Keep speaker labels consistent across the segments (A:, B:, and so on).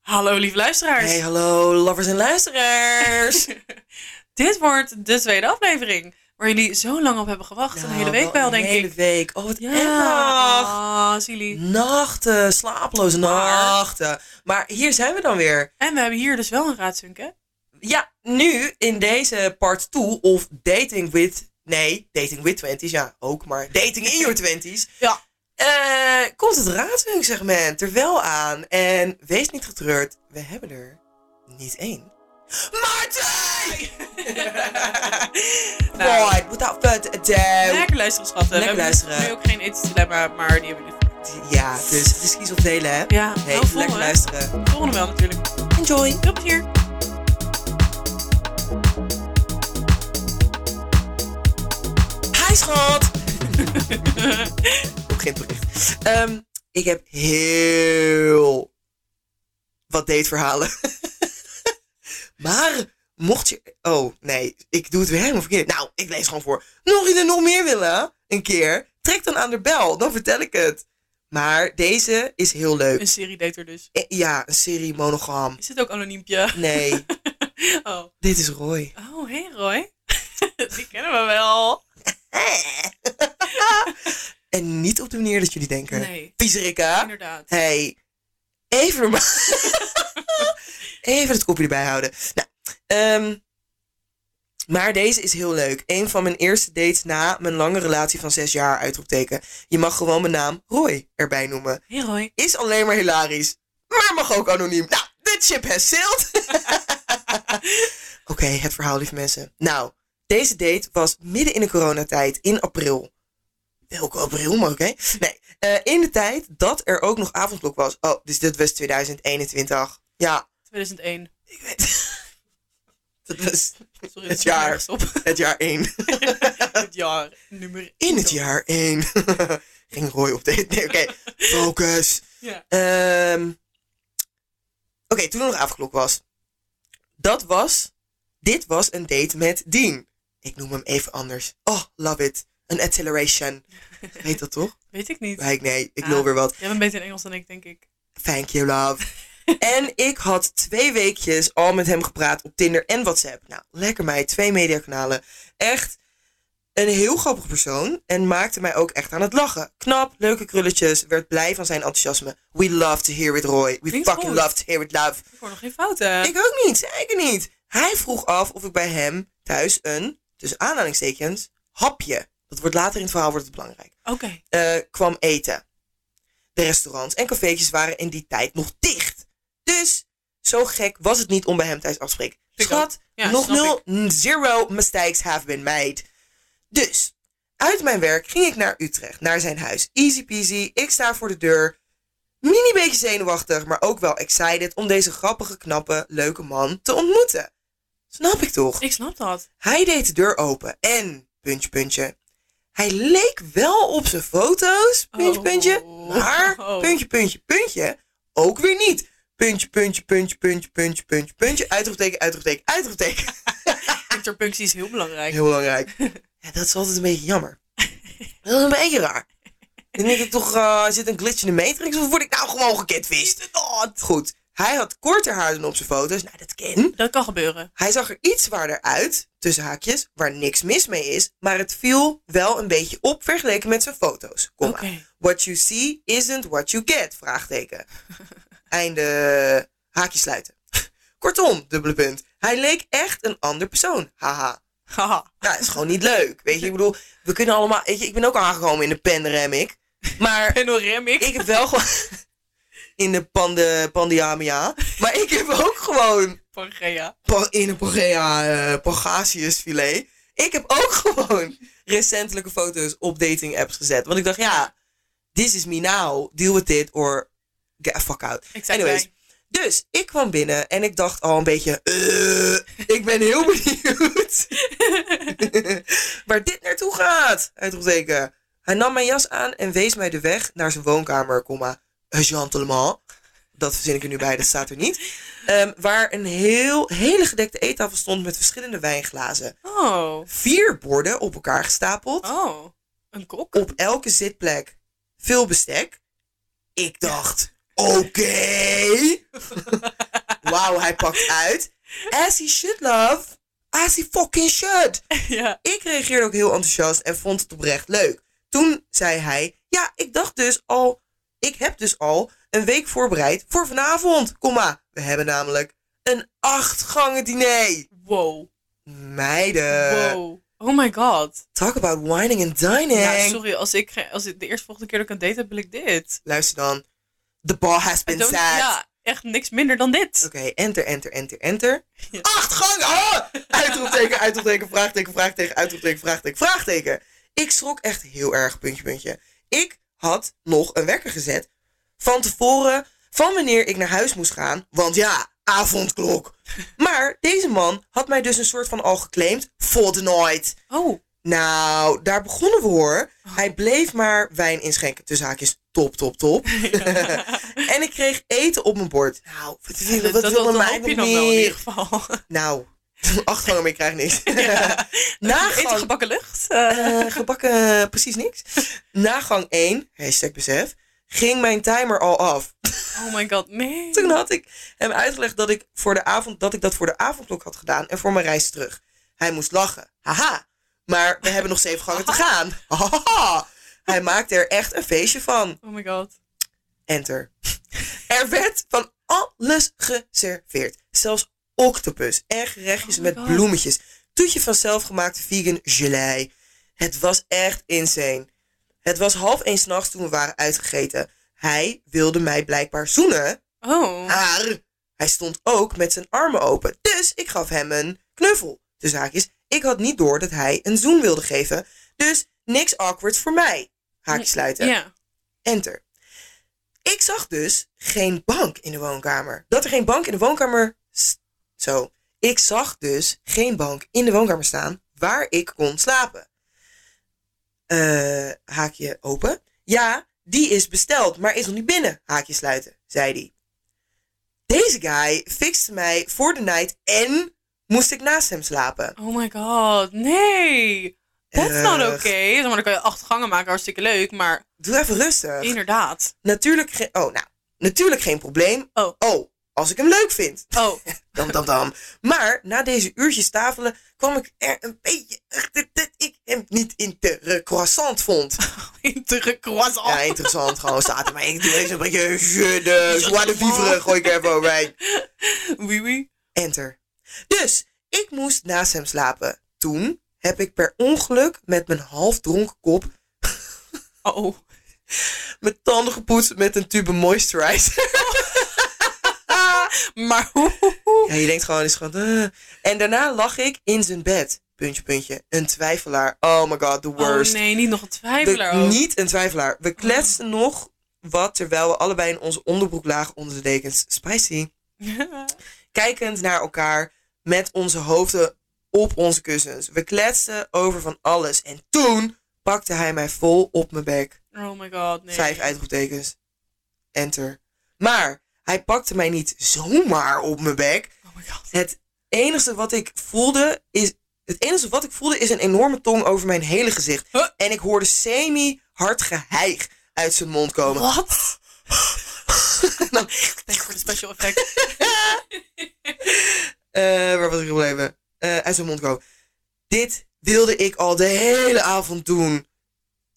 A: Hallo lief luisteraars.
B: Hey, hallo, lovers en luisteraars.
A: Dit wordt de tweede aflevering. Waar jullie zo lang op hebben gewacht. een hele week wel, denk
B: Nou, Een hele
A: ik.
B: week. Oh, wat
A: Ja.
B: erg.
A: Ah, zielig.
B: Nachten, slaaploze
A: Maar-
B: nachten. Maar hier zijn we dan weer.
A: En we hebben hier dus wel een raadzunk, hè?
B: Oh. Ja, nu in deze part 2 of Dating with... Nee, Dating with 20s, ja, ook. Maar Dating in your 20s.
A: Ja.
B: eh, komt het raadspuntsegment er wel aan. En wees niet getreurd, we hebben er niet één. Maar twee!
A: Nou,
B: Boy, without further ado.
A: lekker luisteren, schatten.
B: Lekker
A: we
B: luisteren.
A: hebben dus nu ook geen ethisch dilemma, maar die hebben we dit.
B: Ja, dus het is kies of delen, hè?
A: Ja,
B: Hey,
A: nou, vol,
B: lekker
A: hè?
B: luisteren.
A: Volgende wel natuurlijk.
B: Enjoy.
A: Veel plezier.
B: Hi, schat! Begint bericht. Ehm, ik heb heel wat dateverhalen. maar mocht je... Oh, nee. Ik doe het weer helemaal verkeerd. Nou, ik lees gewoon voor. Mocht je er nog meer willen, een keer, trek dan aan de bel. Dan vertel ik het. Maar deze is heel leuk.
A: Een serie dater dus.
B: Eh, Ja, een serie monogam.
A: Is dit ook anoniempje?
B: Nee,
A: Oh.
B: dit is Roy.
A: Oh, hey Roy. die kennen we wel.
B: En niet op de manier dat jullie denken.
A: Nee,
B: Viezerika.
A: inderdaad.
B: Hey, even, even het kopje erbij houden. Nou, ehm, maar deze is heel leuk. Een van mijn eerste dates na mijn lange relatie van zes jaar uitroepteken. Je mag gewoon mijn naam Roy erbij noemen.
A: Hey Roy.
B: Is alleen maar hilarisch. Maar mag ook anoniem. Nou, dit ship has sailed. Oké, het verhaal, lieve mensen. Nou, deze date was midden in de coronatijd, in april. Welke april, maar oké. Nee, eh, in de tijd dat er ook nog avondklok was. Oh, dus dit was 2021. Ja,
A: 2001.
B: ik weet Dat was
A: Sorry, dat
B: Het
A: staat
B: jaar.
A: nergens op.
B: het jaar 1.
A: Het jaar. Nummer
B: In het
A: één.
B: jaar 1. Ging Roy op date. Nee, oké. Focus.
A: Ja.
B: Ehm, Oké, toen er nog avondklok was. Dat was. Dit was een date met Dean. Ik noem hem even anders. Oh, love it. Een acceleration. Heet dat toch?
A: Weet ik niet.
B: Nee, nee, ik wil
A: Ah.
B: weer wat.
A: Jij bent beter in Engels dan ik, denk ik.
B: Thank you, love. en ik had twee weekjes al met hem gepraat op Tinder en WhatsApp. Nou, lekker mij, twee mediakanalen. Echt een heel grappig persoon en maakte mij ook echt aan het lachen. Knap, leuke krulletjes, werd blij van zijn enthousiasme. We love to hear it, Roy. We
A: Klinkt
B: fucking
A: goed.
B: love to hear it, love.
A: Ik hoor nog geen fouten.
B: Ik ook niet, zeker niet. Hij vroeg af of ik bij hem thuis een, tussen aanhalingstekens, hapje. Dat wordt later in het verhaal wordt het belangrijk
A: Oké.
B: eh, kwam eten. De restaurants en cafeetjes waren in die tijd nog dicht. Dus zo gek was het niet om bij hem thuis af te spreken.
A: Ik
B: Schat,
A: Ja,
B: nog
A: snap
B: nul, n- zero mistakes have been made. Dus, uit mijn werk ging ik naar Utrecht, naar zijn huis. Easy peasy, ik sta voor de deur. Mini beetje zenuwachtig, maar ook wel excited om deze grappige, knappe, leuke man te ontmoeten. Snap ik toch?
A: Ik snap dat.
B: Hij deed de deur open en, puntje, puntje. Hij leek wel op zijn foto's, puntje,
A: Oh.
B: puntje. Maar, puntje, puntje, puntje, ook weer niet. Puntje, puntje, puntje, puntje, puntje, puntje, puntje. Uitroepteken, uitroepteken, uitroepteken.
A: Interpunctie is heel belangrijk.
B: Heel belangrijk. Ja, dat is altijd een beetje jammer. Dat is een beetje raar. Dan denk ik toch, eh, zit een glitch in de matrix of word ik nou gewoon gekidvist? Goed, hij had korter haar dan op zijn foto's. Nou, dat ken.
A: Dat kan gebeuren.
B: Hij zag er iets zwaarder uit, tussen haakjes, waar niks mis mee is, maar het viel wel een beetje op vergeleken met zijn foto's. Komma.
A: Oké.
B: What you see isn't what you get, vraagteken. Einde, haakje sluiten. Kortom, dubbele punt. Hij leek echt een ander persoon, haha.
A: Haha.
B: Ja, is gewoon niet leuk, weet je. Ik bedoel, we kunnen allemaal, weet je, ik ben ook aangekomen in de pandemic, maar
A: En dan rem ik.
B: ik heb wel gewoon... In de pande, pandemia. Maar ik heb ook gewoon
A: Pangea.
B: pa- in een Pangea eh Pangasius filet. Ik heb ook gewoon recentelijke foto's op dating apps gezet. Want ik dacht, ja, this is me now. Deal with it or get the fuck out.
A: Ik zei
B: Anyways,
A: het
B: dus ik kwam binnen en ik dacht al een beetje, eh, ik ben heel benieuwd waar dit naartoe gaat. Uitroepteken. Hij nam mijn jas aan en wees mij de weg naar zijn woonkamer, comma, een gentleman. Dat verzin ik er nu bij, dat staat er niet. Ehm, waar een heel, hele gedekte eettafel stond met verschillende wijnglazen.
A: Oh.
B: Vier borden op elkaar gestapeld.
A: Oh. Een kok?
B: Op elke zitplek veel bestek. Ik dacht, oké. wauw, hij pakt uit. As he should, love. As he fucking should.
A: ja.
B: Ik reageerde ook heel enthousiast en vond het oprecht leuk. Toen zei hij, ja, ik dacht dus al, ik heb dus al een week voorbereid voor vanavond. Kom maar, we hebben namelijk een acht gangen diner.
A: Wow.
B: Meiden,
A: wow. Oh my god.
B: talk about whining and dining.
A: Ja, sorry, als ik, ge- als ik de eerste volgende keer dat ik een date heb, wil ik dit.
B: Luister dan, the ball has
A: I
B: been
A: don't-
B: set.
A: Ja, echt niks minder dan dit.
B: Oké, enter, enter, enter, enter.
A: Ja.
B: Acht gangen! Ah! Uitroepteken, uitroepteken, vraagteken, vraagteken, uitroepteken, vraagteken, vraagteken. Ik schrok echt heel erg, puntje, puntje. Ik had nog een wekker gezet van tevoren van wanneer ik naar huis moest gaan. Want ja, avondklok. Maar deze man had mij dus een soort van al geclaimd voor de nooit.
A: Oh,
B: Nou, daar begonnen we hoor. Hij bleef maar wijn inschenken. Tussen haakjes top, top, top. en ik kreeg eten op mijn bord. Nou, wat wil, wat
A: dat,
B: wil
A: dat
B: een
A: hoop
B: meid
A: je
B: nog
A: dan wel in
B: meer?
A: ieder geval.
B: Nou, acht gangen, maar ik krijg niks.
A: Eten
B: Nagang,
A: gebakken lucht. Eh,
B: eh, gebakken, eh, precies niks. Nagang 1, hashtag besef, ging mijn timer al af.
A: oh my god, nee.
B: Toen had ik hem uitgelegd dat ik, voor de avond, dat ik dat voor de avondklok had gedaan en voor mijn reis terug. Hij moest lachen. Haha. Maar we hebben nog zeven gangen te gaan. Hahaha. Hij maakte er echt een feestje van.
A: Oh my god.
B: Enter. Er werd van alles geserveerd. Zelfs octopus en gerechtjes
A: Oh my
B: met
A: God.
B: bloemetjes. Toetje van zelfgemaakte vegan gelei. Het was echt insane. Het was half één s'nachts toen we waren uitgegeten. Hij wilde mij blijkbaar zoenen,
A: Oh.
B: maar hij stond ook met zijn armen open. Dus ik gaf hem een knuffel. De zaak is, ik had niet door dat hij een zoen wilde geven. Dus niks awkward voor mij. Haakjes sluiten.
A: Ja.
B: Enter. Ik zag dus geen bank in de woonkamer. Dat er geen bank in de woonkamer. s- Zo. Ik zag dus geen bank in de woonkamer staan waar ik kon slapen. Eh, haakje open. Ja, die is besteld, maar is nog niet binnen. Haakje sluiten, zei hij. Deze guy fixte mij voor de night en moest ik naast hem slapen.
A: Oh my god, nee. That's not
B: Erg.
A: oké. Zeg maar, dan kan je acht gangen maken, hartstikke leuk. Maar
B: Doe even rustig.
A: inderdaad.
B: Natuurlijk geen... Oh, nou. Natuurlijk geen probleem.
A: Oh.
B: Oh, als ik hem leuk vind.
A: Oh,
B: Dam, dam, dam. Maar na deze uurtjes tafelen kwam ik er een beetje achter dat ik hem niet interessant vond.
A: intere croissant.
B: Ja, interessant gewoon staat er. Maar ik doe eens een beetje de zwarte vivre gooi ik er even overheen.
A: Oui, oui.
B: Enter. Dus ik moest naast hem slapen. Toen heb ik per ongeluk met mijn half dronken kop
A: Oh.
B: mijn tanden gepoetst met een tube moisturizer.
A: Maar hoe?
B: Ja, je denkt gewoon, is gewoon. eh. En daarna lag ik in zijn bed. Puntje, puntje. Een twijfelaar. Oh my god, the worst.
A: Oh nee, niet nog een twijfelaar
B: We-
A: ook.
B: Niet een twijfelaar. We kletsten nog wat terwijl we allebei in onze onderbroek lagen onder de dekens. Spicy. Kijkend naar elkaar met onze hoofden op onze kussens. We kletsten over van alles. En toen pakte hij mij vol op mijn bek.
A: oh my god, nee.
B: Vijf uitroeptekens. Enter. Maar hij pakte mij niet zomaar op mijn bek.
A: Oh my god.
B: Het enige wat ik voelde is. Het enige wat ik voelde is een enorme tong over mijn hele gezicht.
A: Huh?
B: En ik hoorde semi-hard geheig uit zijn mond komen.
A: Wat? Thanks voor de special effect.
B: Eh, waar was ik gebleven? Eh, uit zijn mond komen. Dit wilde ik al de hele avond doen,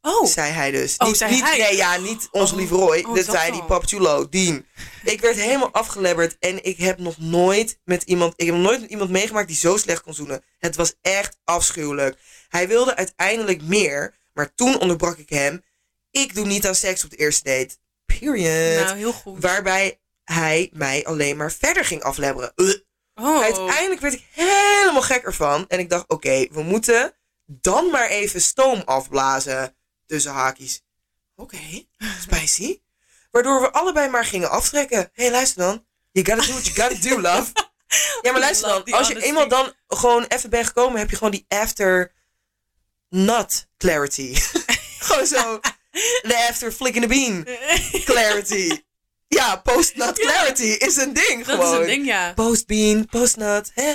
A: Oh.
B: zei hij dus.
A: Oh,
B: niet,
A: zei
B: niet-
A: hij.
B: Nee, ja, niet onze
A: Oh,
B: lieve Roy.
A: oh,
B: dit
A: dat
B: zei die
A: al.
B: Papchulo, Dien. Ik werd helemaal afgelebberd en ik heb nog nooit met iemand... Ik heb nog nooit met iemand meegemaakt die zo slecht kon zoenen. Het was echt afschuwelijk. Hij wilde uiteindelijk meer, maar toen onderbrak ik hem. Ik doe niet aan seks op de eerste date. Period.
A: Nou, heel goed.
B: Waarbij hij mij alleen maar verder ging aflebberen. Ugh.
A: Oh.
B: Uiteindelijk werd ik helemaal gek ervan. En ik dacht, oké, we moeten dan maar even stoom afblazen. Tussen haakjes. Oké, spicy. Waardoor we allebei maar gingen aftrekken. Hé, hey, luister dan. You gotta do what you gotta do, love. Ja, maar luister
A: Love
B: dan.
A: the
B: Als je
A: honesty.
B: eenmaal dan gewoon even bent gekomen, heb je gewoon die after nut clarity. gewoon zo. The after flick in the bean clarity. Ja, post nut clarity is een ding
A: dat
B: gewoon.
A: is een ding, ja.
B: Postbean, postnat, hè?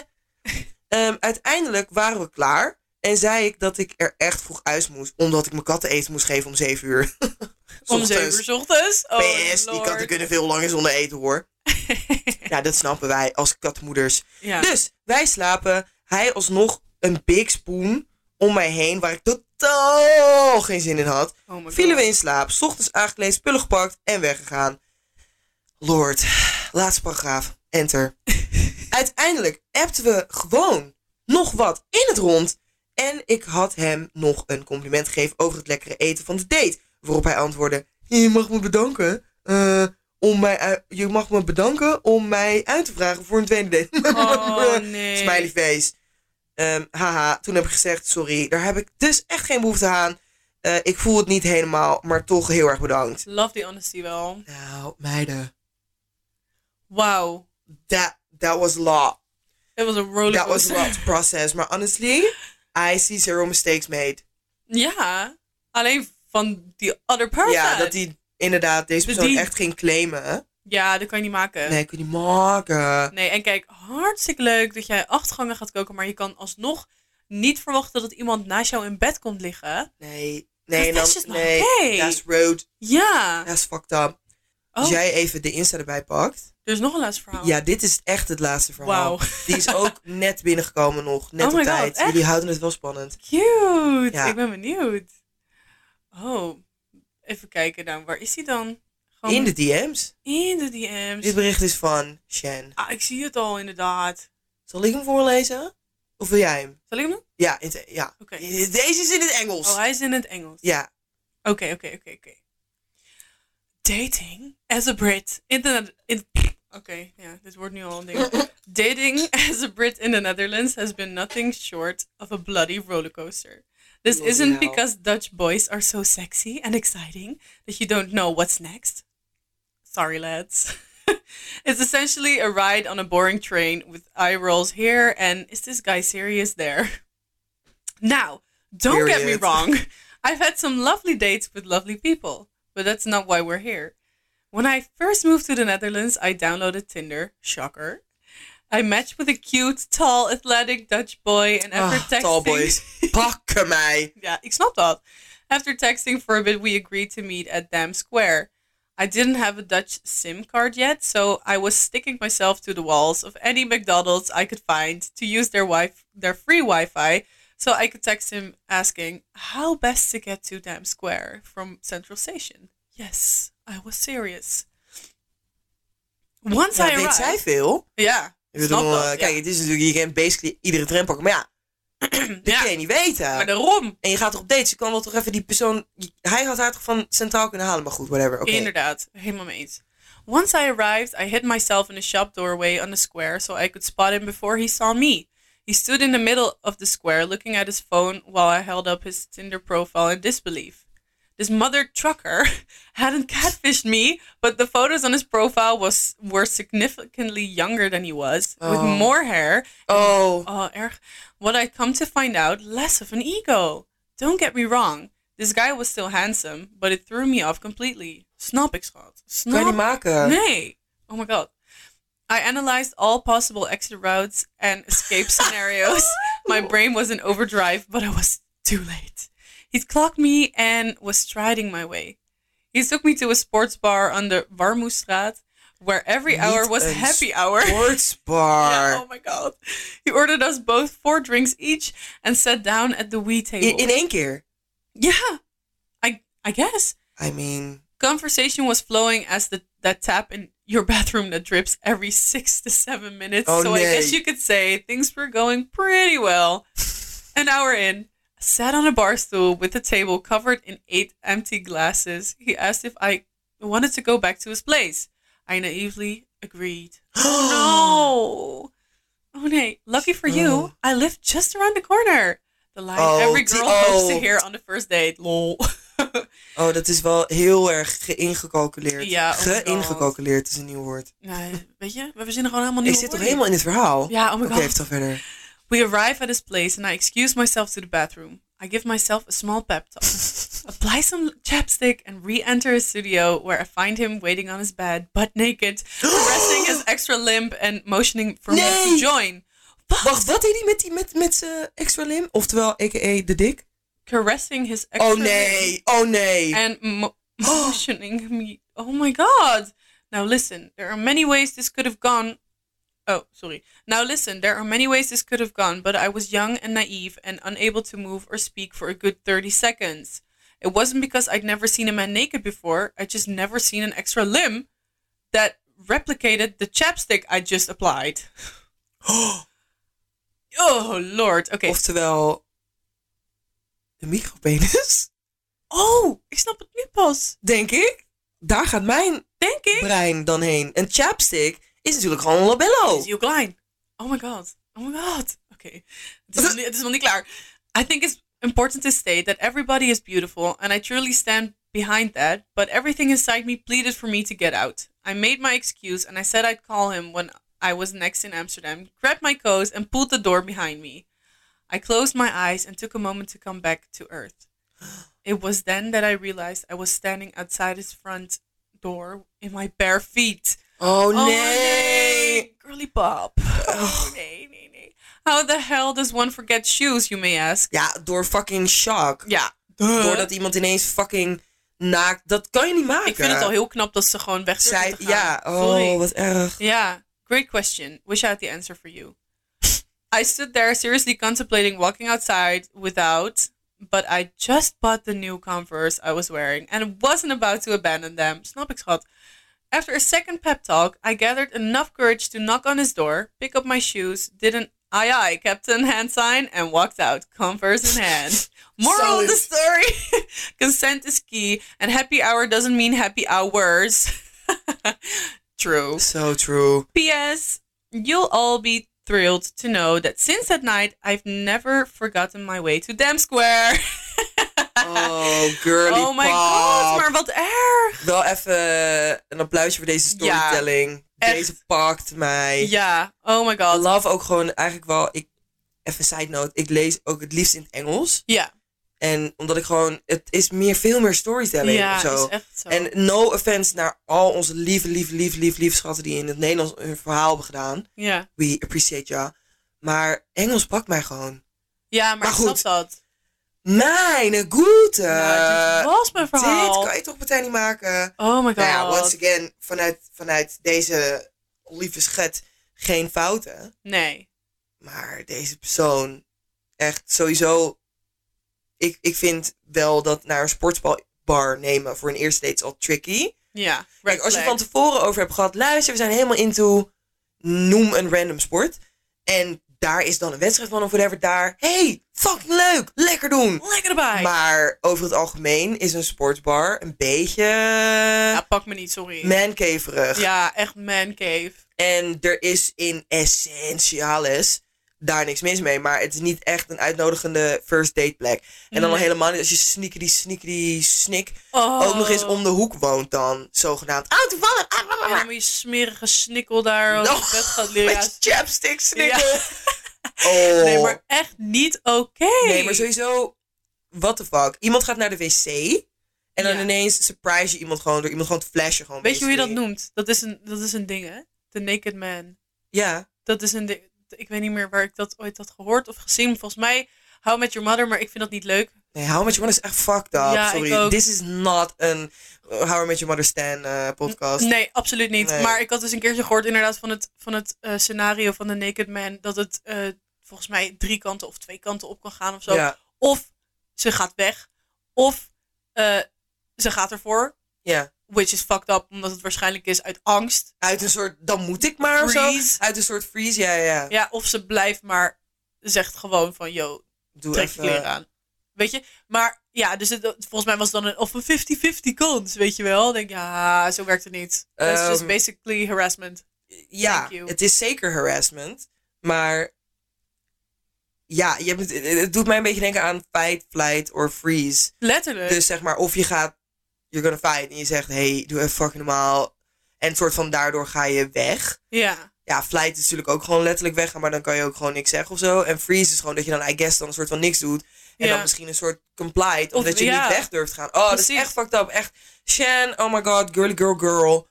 B: Ehm, uiteindelijk waren we klaar. En zei ik dat ik er echt vroeg uit moest, omdat ik mijn katten eten moest geven om 7 uur.
A: Om
B: Ochtends.
A: 7 uur 's ochtends. Oh,
B: PS, die
A: lord.
B: katten kunnen veel langer zonder eten hoor. ja, dat snappen wij als katmoeders.
A: Ja.
B: Dus wij slapen. Hij alsnog een big spoon om mij heen, waar ik totaal geen zin in had.
A: Oh my God.
B: Vielen we in slaap, 's ochtends aangekleed, spullen gepakt en weggegaan. Lord, laatste paragraaf, enter. Uiteindelijk appten we gewoon nog wat in het rond. En ik had hem nog een compliment gegeven over het lekkere eten van de date. Waarop hij antwoordde, je mag me bedanken. eh, om mij, uit- je mag me bedanken om mij uit te vragen voor een tweede date. Eh,
A: Oh nee.
B: Smiley face. Ehm, haha, toen heb ik gezegd, sorry, daar heb ik dus echt geen behoefte aan. Eh, ik voel het niet helemaal, maar toch heel erg bedankt.
A: Love the honesty wel.
B: Nou, meiden.
A: Wauw.
B: That, that was a lot.
A: It was a
B: That was a
A: rollercoaster.
B: lot to process. Maar honestly, I see zero mistakes made.
A: Ja. Alleen van die other person.
B: Ja, dat die inderdaad deze
A: Dus
B: persoon
A: die-
B: echt ging claimen. hè?
A: Ja, dat kan je niet maken.
B: Nee, kun je niet maken.
A: Nee, en kijk, hartstikke leuk dat jij acht gangen gaat koken, maar je kan alsnog niet verwachten dat iemand naast jou in bed komt liggen.
B: Nee, nee,
A: Maar
B: dan,
A: that's just not
B: nee.
A: okay.
B: That's road.
A: Ja.
B: That's fucked up. Als
A: Oh,
B: jij even de Insta erbij pakt.
A: er is nog een laatste verhaal.
B: Ja, dit is echt het laatste verhaal.
A: Wauw.
B: Die is ook net binnengekomen nog. Net
A: Oh
B: op
A: my God,
B: tijd.
A: echt?
B: Jullie houden het wel spannend.
A: Cute.
B: Ja.
A: Ik ben benieuwd. Oh, even kijken dan. Waar is hij dan? Gewoon
B: In de DM's.
A: in de DM's.
B: Dit bericht is van Shen.
A: Ah, ik zie het al inderdaad.
B: Zal ik hem voorlezen? Of wil jij hem?
A: Zal ik hem doen?
B: Ja, in het- ja.
A: Oké.
B: deze is in het Engels.
A: Oh, hij is in het Engels.
B: Ja,
A: Oké, oké, oké, oké. Dating as a Brit in the... in- Oké, ja, dit wordt nu al een ding. Dating as a Brit in the Netherlands has been nothing short of a bloody rollercoaster. This
B: Bloody
A: isn't
B: hell.
A: because Dutch boys are so sexy and exciting that you don't know what's next. Sorry, lads. it's essentially a ride on a boring train with eye rolls here and is this guy serious there? Now, don't get me
B: Period.
A: wrong. I've had some lovely dates with lovely people, but that's not why we're here. When I first moved to the Netherlands, I downloaded Tinder. Shocker. I matched with a cute, tall, athletic Dutch boy, and after
B: Ah,
A: texting,
B: tall boys. Pakken mij.
A: yeah, ik snap dat. After texting for a bit, we agreed to meet at Dam Square. I didn't have a Dutch SIM card yet, so I was sticking myself to the walls of any McDonald's I could find to use their wi their free Wi-Fi, so I could text him asking how best to get to Dam Square from Central Station. Yes, I was serious. Once I
B: Ja, weet
A: arrived,
B: zij veel?
A: yeah,
B: Ik bedoel,
A: snap dat,
B: eh,
A: ja.
B: Kijk, het is natuurlijk, je kent basically iedere tram pakken. Maar ja, dat
A: Ja,
B: kun je niet weten.
A: maar daarom.
B: En je gaat toch op dates, je kan wel toch even die persoon... Hij had haar toch van centraal kunnen halen, maar goed, whatever. Oké.
A: Inderdaad, helemaal mee eens. Once I arrived, I hid myself in a shop doorway on the square so I could spot him before he saw me. He stood in the middle of the square looking at his phone while I held up his Tinder profile in disbelief. This mother trucker hadn't catfished me, but the photos on his profile was were significantly younger than he was, with
B: Oh.
A: more hair
B: Oh,
A: Oh, erg. What I come to find out, less of an ego. Don't get me wrong. This guy was still handsome, but it threw me off completely. Snap ik, schat. Snap
B: kan je niet maken.
A: Nee. Oh my god. I analyzed all possible exit routes and escape scenarios. My brain was in overdrive, but I was too late. He clocked me and was striding my way. He took me to a sports bar on the Warmoestraat, where every hour
B: Niet
A: was
B: een
A: happy hour.
B: Sportsbar.
A: Yeah, oh my god. He ordered us both four drinks each and sat down at the wee table.
B: in, in één keer.
A: yeah. I I guess.
B: I mean...
A: Conversation was flowing as the that tap in your bathroom that drips every six to seven minutes.
B: Oh,
A: so I guess
B: nee.
A: you could say things were going pretty well. An hour in, sat on a bar stool with a table covered in eight empty glasses. He asked if I wanted to go back to his place. I naively agreed. Oh no! Oh nee, lucky for you,
B: Oh.
A: I live just around the corner. The line
B: Oh,
A: every
B: die-
A: girl hopes to
B: oh.
A: hear on the first date. Lol.
B: Oh, dat is wel heel erg geïngecalculeerd.
A: Ja, oh my God.
B: geïngecalculeerd is een nieuw woord.
A: nee, weet je, we verzinnen gewoon helemaal nieuwe
B: Ik zit toch
A: woorden.
B: helemaal in het verhaal?
A: Ja, oh my
B: Oké,
A: god.
B: vertel verder.
A: We arrive at his place and I excuse myself to the bathroom. I give myself a small pep talk, apply some chapstick, and re enter his studio where I find him waiting on his bed, butt naked, caressing his extra limb and motioning for me
B: Nee.
A: to join.
B: Wacht, wat deed hij met, die, met, met zijn extra lim? Oftewel, a.k.a. de dik?
A: Caressing his extra
B: Oh nee, oh nee.
A: and mo- motioning me. Oh my god. Now listen, there are many ways this could have gone. Oh, sorry. Now listen, there are many ways this could have gone, but I was young and naive and unable to move or speak for a good 30 seconds. It wasn't because I'd never seen a man naked before, I'd just never seen an extra limb that replicated the chapstick I just applied. oh, lord. Okay.
B: Oftewel, de micropenis,
A: Oh, ik snap het nu pas.
B: denk ik. Daar gaat mijn
A: Denk ik.
B: brein dan heen. Een chapstick is natuurlijk gewoon een labello.
A: is heel klein. Oh my god. Oh my god. Okay. Het is, nog niet- het is nog niet klaar. I think it's important to state that everybody is beautiful and I truly stand behind that, but everything inside me pleaded for me to get out. I made my excuse and I said I'd call him when I was next in Amsterdam, grabbed my coat and pulled the door behind me. I closed my eyes and took a moment to come back to earth. It was then that I realized I was standing outside his front door in my bare feet.
B: Oh
A: Oh,
B: nee.
A: Girly pop. Oh, nee, nee, nee. How the hell does one forget shoes, you may ask?
B: Ja, door fucking shock.
A: Ja.
B: Doordat iemand ineens fucking naakt. Dat kan je niet maken.
A: Ik vind het al heel knap dat ze gewoon weg zijn.
B: Zij, Ja, oh, wat erg.
A: Yeah, great question. Wish I had the answer for you. I stood there seriously contemplating walking outside without, but I just bought the new Converse I was wearing and wasn't about to abandon them. Snap ik schat. After a second pep talk, I gathered enough courage to knock on his door, pick up my shoes, did an aye aye captain hand sign, and walked out, Converse in hand. Moral of the story consent is key, and happy hour doesn't mean happy hours. True.
B: So true.
A: P.S. You'll all be thrilled to know that since that night, I've never forgotten my way to Dam Square.
B: Oh, girly
A: oh my
B: pop.
A: god, maar wat erg.
B: Wel even eh, een applausje voor deze storytelling.
A: echt.
B: deze pakt mij.
A: Ja, oh my god.
B: Love ook gewoon eigenlijk wel... Ik, even side note. Ik lees ook het liefst in het Engels.
A: Ja,
B: En omdat ik gewoon... Het is meer, veel meer storytelling of
A: ja
B: zo.
A: is echt zo.
B: En no offense naar al onze lieve, lieve, lieve, lieve, lieve schatten die in het Nederlands hun verhaal hebben gedaan.
A: ja.
B: We appreciate ya. Maar Engels pakt mij gewoon.
A: ja, maar,
B: Maar
A: ik snap
B: goed.
A: dat.
B: Mijn goede.
A: ja, dit was mijn verhaal.
B: dit kan je toch meteen niet maken.
A: Oh my god.
B: Nou ja, once again, vanuit, vanuit deze lieve schet geen fouten.
A: Nee.
B: Maar deze persoon, echt sowieso. Ik, ik vind wel dat naar een sportsbar nemen voor een eerste date is al tricky.
A: Ja,
B: Kijk, als je
A: flag.
B: het van tevoren over hebt gehad, luister, we zijn helemaal into noem een random sport. En daar is dan een wedstrijd van of whatever daar. hey, fucking leuk, lekker doen.
A: Lekker erbij.
B: Maar over het algemeen is een sportsbar een beetje
A: ja, pak me niet, sorry.
B: mankeverig.
A: Ja, echt man cave.
B: En er is in essentialis daar niks mis mee. Maar het is niet echt een uitnodigende first date plek. En dan al
A: Nee.
B: helemaal niet als je sneaky sneaky snik
A: Oh.
B: ook nog eens om de hoek woont dan. Zogenaamd. Oh, toevallig. Ah, ah, ah,
A: En
B: ah.
A: dan moet je smerige snikkel daar op
B: Oh,
A: het bed gaat
B: Met
A: liggen. Ja,
B: je chapstick snikken.
A: Ja.
B: Oh.
A: Nee, maar echt niet oké.
B: Nee, maar sowieso, what the fuck. Iemand gaat naar de wc en dan
A: Ja.
B: ineens surprise je iemand gewoon door iemand gewoon te flashen. Gewoon
A: Weet je hoe je dat
B: basically.
A: noemt? Dat is een, dat is een ding, hè? The Naked Man.
B: Ja.
A: Dat is een ding. Ik weet niet meer waar ik dat ooit had gehoord of gezien. Volgens mij, How Met Your Mother, maar ik vind dat niet leuk.
B: Nee, How I Met Your Mother is echt fucked up.
A: Ja, ik
B: Sorry,
A: ook.
B: this is not een uh, How I Met Your Mother Stan eh, podcast.
A: Nee, absoluut niet.
B: Nee.
A: Maar ik had dus een keertje gehoord inderdaad van het, van het eh, scenario van The Naked Man. Dat het eh, volgens mij drie kanten of twee kanten op kan gaan of zo.
B: Ja,
A: Of ze gaat weg. Of eh, ze gaat ervoor.
B: ja.
A: Which is fucked up, omdat het waarschijnlijk is uit angst.
B: Uit een soort, dan moet ik maar of zo.
A: Freeze.
B: Uit een soort freeze, ja, ja. ja.
A: Ja, of ze blijft maar zegt gewoon van, yo,
B: Doe eh,
A: trek je kleren aan. Weet je? Maar ja, dus het, volgens mij was het dan een, of een 50-50 kans, weet je wel? Denk, ja, zo werkt het niet. Dat is just
B: Ehm,
A: basically harassment.
B: Ja,
A: Thank you.
B: het is zeker harassment. Maar ja, je hebt, het- het doet mij een beetje denken aan fight, flight or freeze.
A: Letterlijk.
B: Dus zeg maar, of je gaat, you're gonna fight. En je zegt, hey, doe even fucking normaal. En soort van daardoor ga je weg.
A: ja.
B: Ja, flight is natuurlijk ook gewoon letterlijk weggaan, maar dan kan je ook gewoon niks zeggen of zo. En freeze is gewoon dat je dan, I guess, dan een soort van niks doet. En
A: Ja.
B: dan misschien een soort complied, omdat
A: Of-
B: je
A: ja.
B: niet weg durft gaan. Oh, dat is
A: Precies.
B: echt fucked up. Echt, Shan, oh my god, girly girl girl.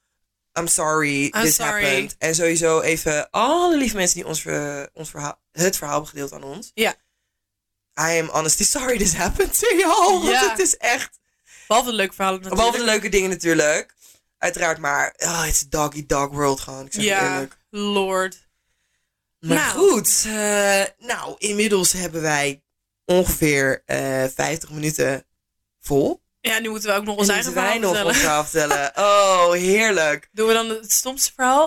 B: I'm sorry,
A: I'm
B: this
A: sorry.
B: happened. En sowieso even alle lieve mensen die ons, ver- ons verhaal, het verhaal hebben gedeeld aan ons.
A: Ja.
B: I am honestly sorry this happened to y'all.
A: Ja.
B: Want het is echt,
A: Behalve de leuke verhalen natuurlijk.
B: behalve de leuke dingen natuurlijk. Uiteraard, maar oh, it's a doggy dog world gewoon. Ik zeg je
A: Ja,
B: eerlijk.
A: lord.
B: Maar
A: Nou.
B: goed, eh, nou, inmiddels hebben wij ongeveer eh 50 minuten vol.
A: Ja, nu moeten we ook nog ons
B: En
A: eigen
B: moeten wij
A: verhaal
B: nog
A: vertellen.
B: ons verhaal vertellen. Oh, heerlijk.
A: Doen we dan het stomste verhaal?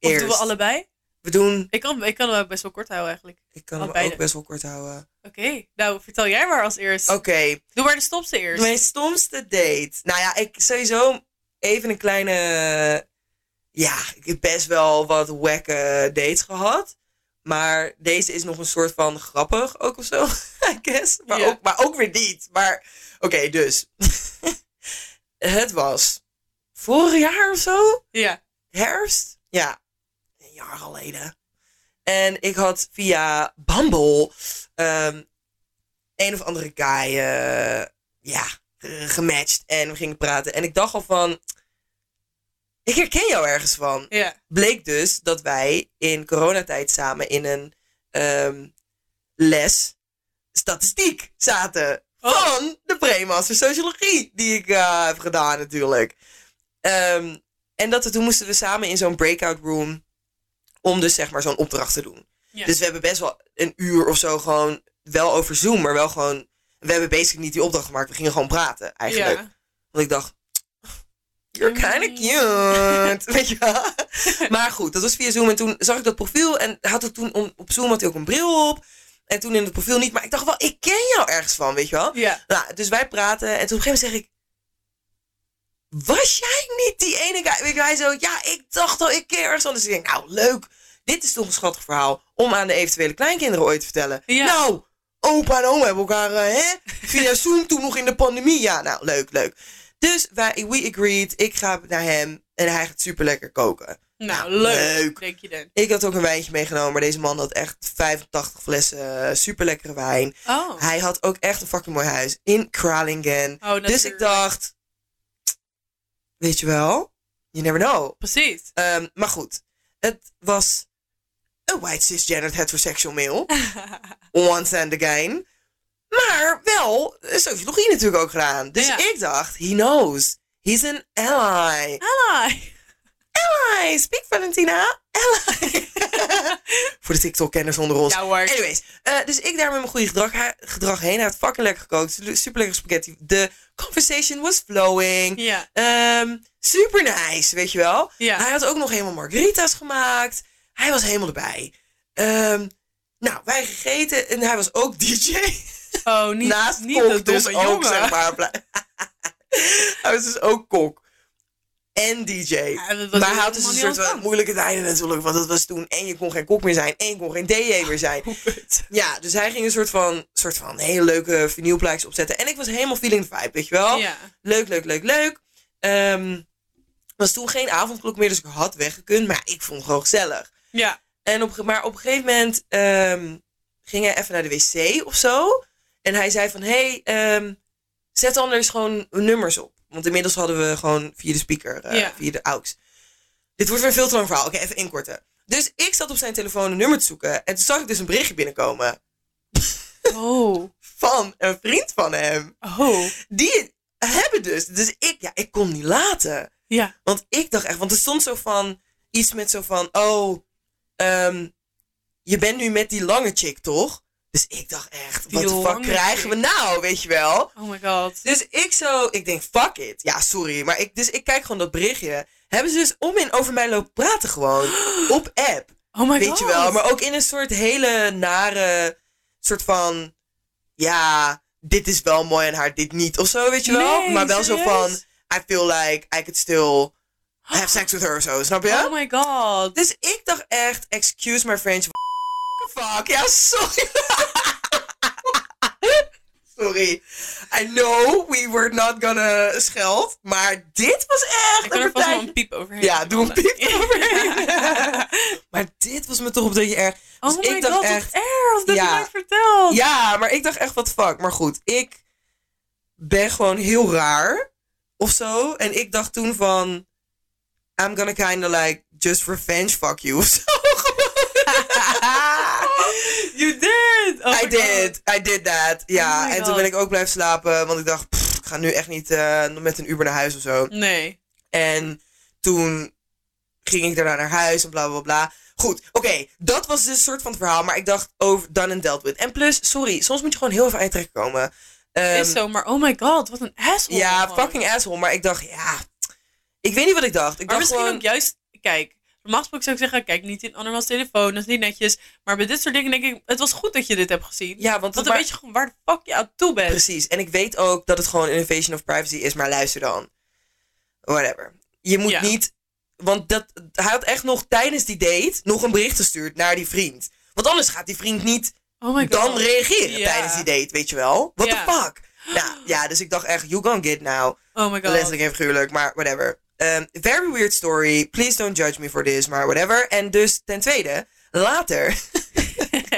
A: Of
B: Eerst.
A: doen we allebei?
B: We doen...
A: Ik kan, ik kan hem ook best wel kort houden eigenlijk.
B: Ik kan
A: Oh,
B: hem
A: beide.
B: ook best wel kort houden.
A: Oké, nou vertel jij maar als eerst.
B: Oké,
A: Doe maar de stomste eerst.
B: mijn stomste date. Nou ja, ik sowieso even een kleine... Ja, ik heb best wel wat wekke dates gehad. Maar deze is nog een soort van grappig ook of zo, I guess. Maar,
A: Ja.
B: ook, maar ook weer niet. Maar oké, dus. Het was vorig jaar of zo.
A: Ja.
B: herfst. Ja, een jaar geleden. En ik had via Bumble ehm, een of andere guy eh, ja, eh, gematcht. En we gingen praten. En ik dacht al van, ik herken jou ergens van.
A: Ja.
B: Bleek dus dat wij in coronatijd samen in een ehm, les statistiek zaten.
A: Oh.
B: Van de pre-master sociologie die ik eh, heb gedaan natuurlijk. Ehm, en dat we toen moesten we samen in zo'n breakout room om dus zeg maar zo'n opdracht te doen.
A: Ja.
B: Dus we hebben best wel een uur of zo gewoon wel over Zoom, maar wel gewoon we hebben basically niet die opdracht gemaakt. We gingen gewoon praten eigenlijk.
A: Ja.
B: Want ik dacht You're kinda
A: Mm.
B: cute. Weet je wel? Maar goed, dat was via Zoom. En toen zag ik dat profiel. En had het toen om- op Zoom had hij ook een bril op. En toen in het profiel niet. Maar ik dacht wel, ik ken jou ergens van, weet je wel?
A: Ja.
B: Nou, dus wij praten en toen op een gegeven moment zeg ik... Was jij niet die ene guy? Weet je, hij zo, ja, ik dacht al, ik ken ergens anders. Dus ik denk, nou, leuk. Dit is toch een schattig verhaal om aan de eventuele kleinkinderen ooit te vertellen.
A: Ja.
B: Nou, opa en oma hebben elkaar, eh, hè? Via Zoom toen nog in de pandemie. Ja, nou, leuk, leuk. Dus wij, we agreed, ik ga naar hem en hij gaat super lekker koken.
A: Nou,
B: Nou,
A: leuk.
B: leuk.
A: Denk je dan.
B: Ik had ook een wijntje meegenomen, maar deze man had echt 85 flessen super lekkere wijn.
A: Oh.
B: Hij had ook echt een fucking mooi huis in Kralingen.
A: Oh, natuurlijk.
B: Dus ik dacht, weet je wel, you never know.
A: Precies.
B: Ehm, maar goed, het was een white cisgendered heterosexual male, once and again. Maar wel eh, sociologie natuurlijk ook gedaan. Dus
A: Ja.
B: ik dacht, he knows, he's an ally.
A: Ally.
B: Ally, speak Valentina, ally. Voor de TikTok-kenners onder ons.
A: Ja hoor.
B: Anyways, eh, dus ik daar met mijn goede gedrag, ha- gedrag heen. Hij had fucking lekker gekookt. Super lekker spaghetti. De conversation was flowing.
A: Ja.
B: Ehm, super nice, weet je wel.
A: Ja.
B: Hij had ook nog helemaal margaritas gemaakt. Hij was helemaal erbij. Ehm, nou, wij gegeten en hij was ook DJ.
A: Oh, niet,
B: Naast
A: niet
B: kok
A: de domme
B: dus ook,
A: jongen.
B: zeg maar. blij- hij was dus ook kok. En DJ.
A: Ja, dat was
B: maar hij
A: helemaal
B: had dus een
A: niet
B: soort van
A: anders.
B: moeilijke tijden natuurlijk. Want dat was toen en je kon geen kok meer zijn en je kon geen DJ meer zijn.
A: Hoe kut.
B: Ja, dus hij ging een soort van, soort van hele leuke vinylplaatjes opzetten. En ik was helemaal feeling the vibe, weet je wel.
A: Ja.
B: Leuk, leuk, leuk, leuk. Ehm was toen geen avondklok meer, dus ik had weggekund. Maar ja, ik vond het gewoon gezellig.
A: Ja.
B: En op, maar op een gegeven moment ehm, ging hij even naar de wc of zo. En hij zei van, hey, ehm, zet anders gewoon nummers op. Want inmiddels hadden we gewoon via de speaker, eh,
A: Ja.
B: via de aux. Dit wordt weer een veel te lang verhaal. Oké, even inkorten. Dus ik zat op zijn telefoon een nummer te zoeken. En toen zag ik dus een berichtje binnenkomen
A: Oh.
B: van een vriend van hem.
A: Oh.
B: Die het hebben dus. Dus ik, ja, ik kon niet laten.
A: Ja.
B: Want ik dacht echt, want er stond zo van iets met zo van, oh, ehm, je bent nu met die lange chick, toch? Dus ik dacht echt,
A: Die
B: wat de fuck
A: lange
B: krijgen we
A: chick.
B: nou, weet je wel?
A: Oh my god.
B: Dus ik zo, ik denk, fuck it. Ja, sorry, maar ik, dus ik kijk gewoon dat berichtje. Hebben ze dus om en over mij lopen praten gewoon, op app.
A: Oh my god.
B: Weet je wel, maar ook in een soort hele nare soort van, ja, dit is wel mooi en haar dit niet of zo, weet je wel?
A: Nee,
B: maar wel zo van,
A: serieus?
B: I feel like I could still have sex with her of zo, snap je?
A: Oh my god.
B: Dus ik dacht echt, excuse my French, fuck, ja, sorry. sorry. I know we were not gonna scheld, maar dit was echt
A: Ik kan er vast
B: partij-
A: wel een piep overheen.
B: Ja, doe een piep
A: Ja.
B: overheen. maar dit was me toch op dat je erg...
A: Oh
B: Dus
A: my
B: ik dacht
A: god,
B: echt-
A: echt, wat erg dat
B: Ja.
A: je mij vertelt.
B: Ja, maar ik dacht echt, wat fuck. Maar goed, ik ben gewoon heel raar of zo. En ik dacht toen van, I'm gonna kinda like just revenge fuck you of zo.
A: you did! Oh my
B: I
A: God. Oh
B: did, I did that. Ja,
A: my
B: en toen
A: God.
B: ben ik ook blijven slapen, want ik dacht, pff, ik ga nu echt niet eh, met een Uber naar huis of zo.
A: Nee.
B: En toen ging ik daarna naar huis en bla bla bla. Goed, oké, dat was dus een soort van het verhaal, maar ik dacht over done and dealt with. En plus, sorry, soms moet je gewoon heel even aan je trek komen. Ehm,
A: is zo, maar oh my god, wat een asshole.
B: Ja,
A: gewoon.
B: fucking asshole, maar ik dacht, ja, ik weet niet wat ik dacht. Ik
A: Maar
B: dacht
A: misschien
B: gewoon,
A: ook juist, kijk, normaal gesproken zou ik zeggen, kijk niet in andermans telefoon, dat is niet netjes. Maar bij dit soort dingen denk ik, het was goed dat je dit hebt gezien.
B: ja, want
A: Want
B: dat
A: dan weet je gewoon waar de fuck je aan toe bent.
B: Precies. En ik weet ook dat het gewoon een invasion of privacy is, maar luister dan. Whatever. Je moet
A: Ja.
B: niet. Want dat, hij had echt nog tijdens die date nog een bericht gestuurd naar die vriend. Want anders gaat die vriend niet
A: Oh my god.
B: dan reageren
A: Ja.
B: tijdens die date, weet je wel? What
A: Ja.
B: the fuck? Nou, ja, dus ik dacht echt, you gonna get now.
A: Oh my god.
B: Letterlijk en figuurlijk, maar whatever. Ehm, very weird story. Please don't judge me for this, maar whatever. En dus ten tweede, later,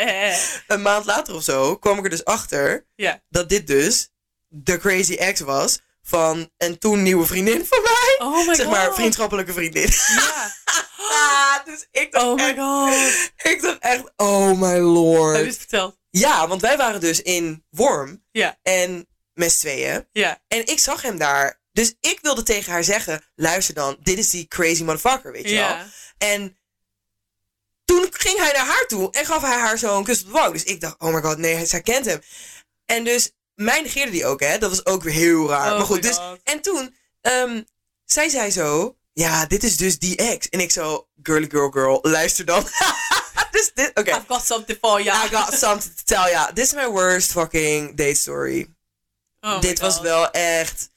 B: een maand later of zo, kwam ik er dus achter
A: ja.
B: dat dit dus de crazy ex was van een toen nieuwe vriendin van mij.
A: Oh my god.
B: zeg maar, vriendschappelijke vriendin.
A: Ja.
B: Ah, dus ik dacht,
A: Oh my
B: echt,
A: god.
B: ik dacht echt, oh my
A: Heb je
B: lord.
A: het verteld?
B: Ja, want wij waren dus in Worm
A: Ja.
B: en met z'n tweeën.
A: Ja.
B: En ik zag hem daar. Dus ik wilde tegen haar zeggen, luister dan, dit is die crazy motherfucker, weet je wel.
A: Ja.
B: En toen ging hij naar haar toe en gaf hij haar zo een kus op de wang. Dus ik dacht, oh my god, nee, zij kent hem. En dus mij negeerde die ook, hè. Dat was ook weer heel raar.
A: Oh
B: maar
A: my
B: goed, dus...
A: God.
B: En toen, ehm, zij zei zo, ja, dit is dus die ex. En ik zo, girly girl girl, luister dan. dus dit, oké.
A: I've got something for you.
B: I got something to tell ya. This is my worst fucking date story.
A: Oh my
B: dit was
A: God.
B: wel echt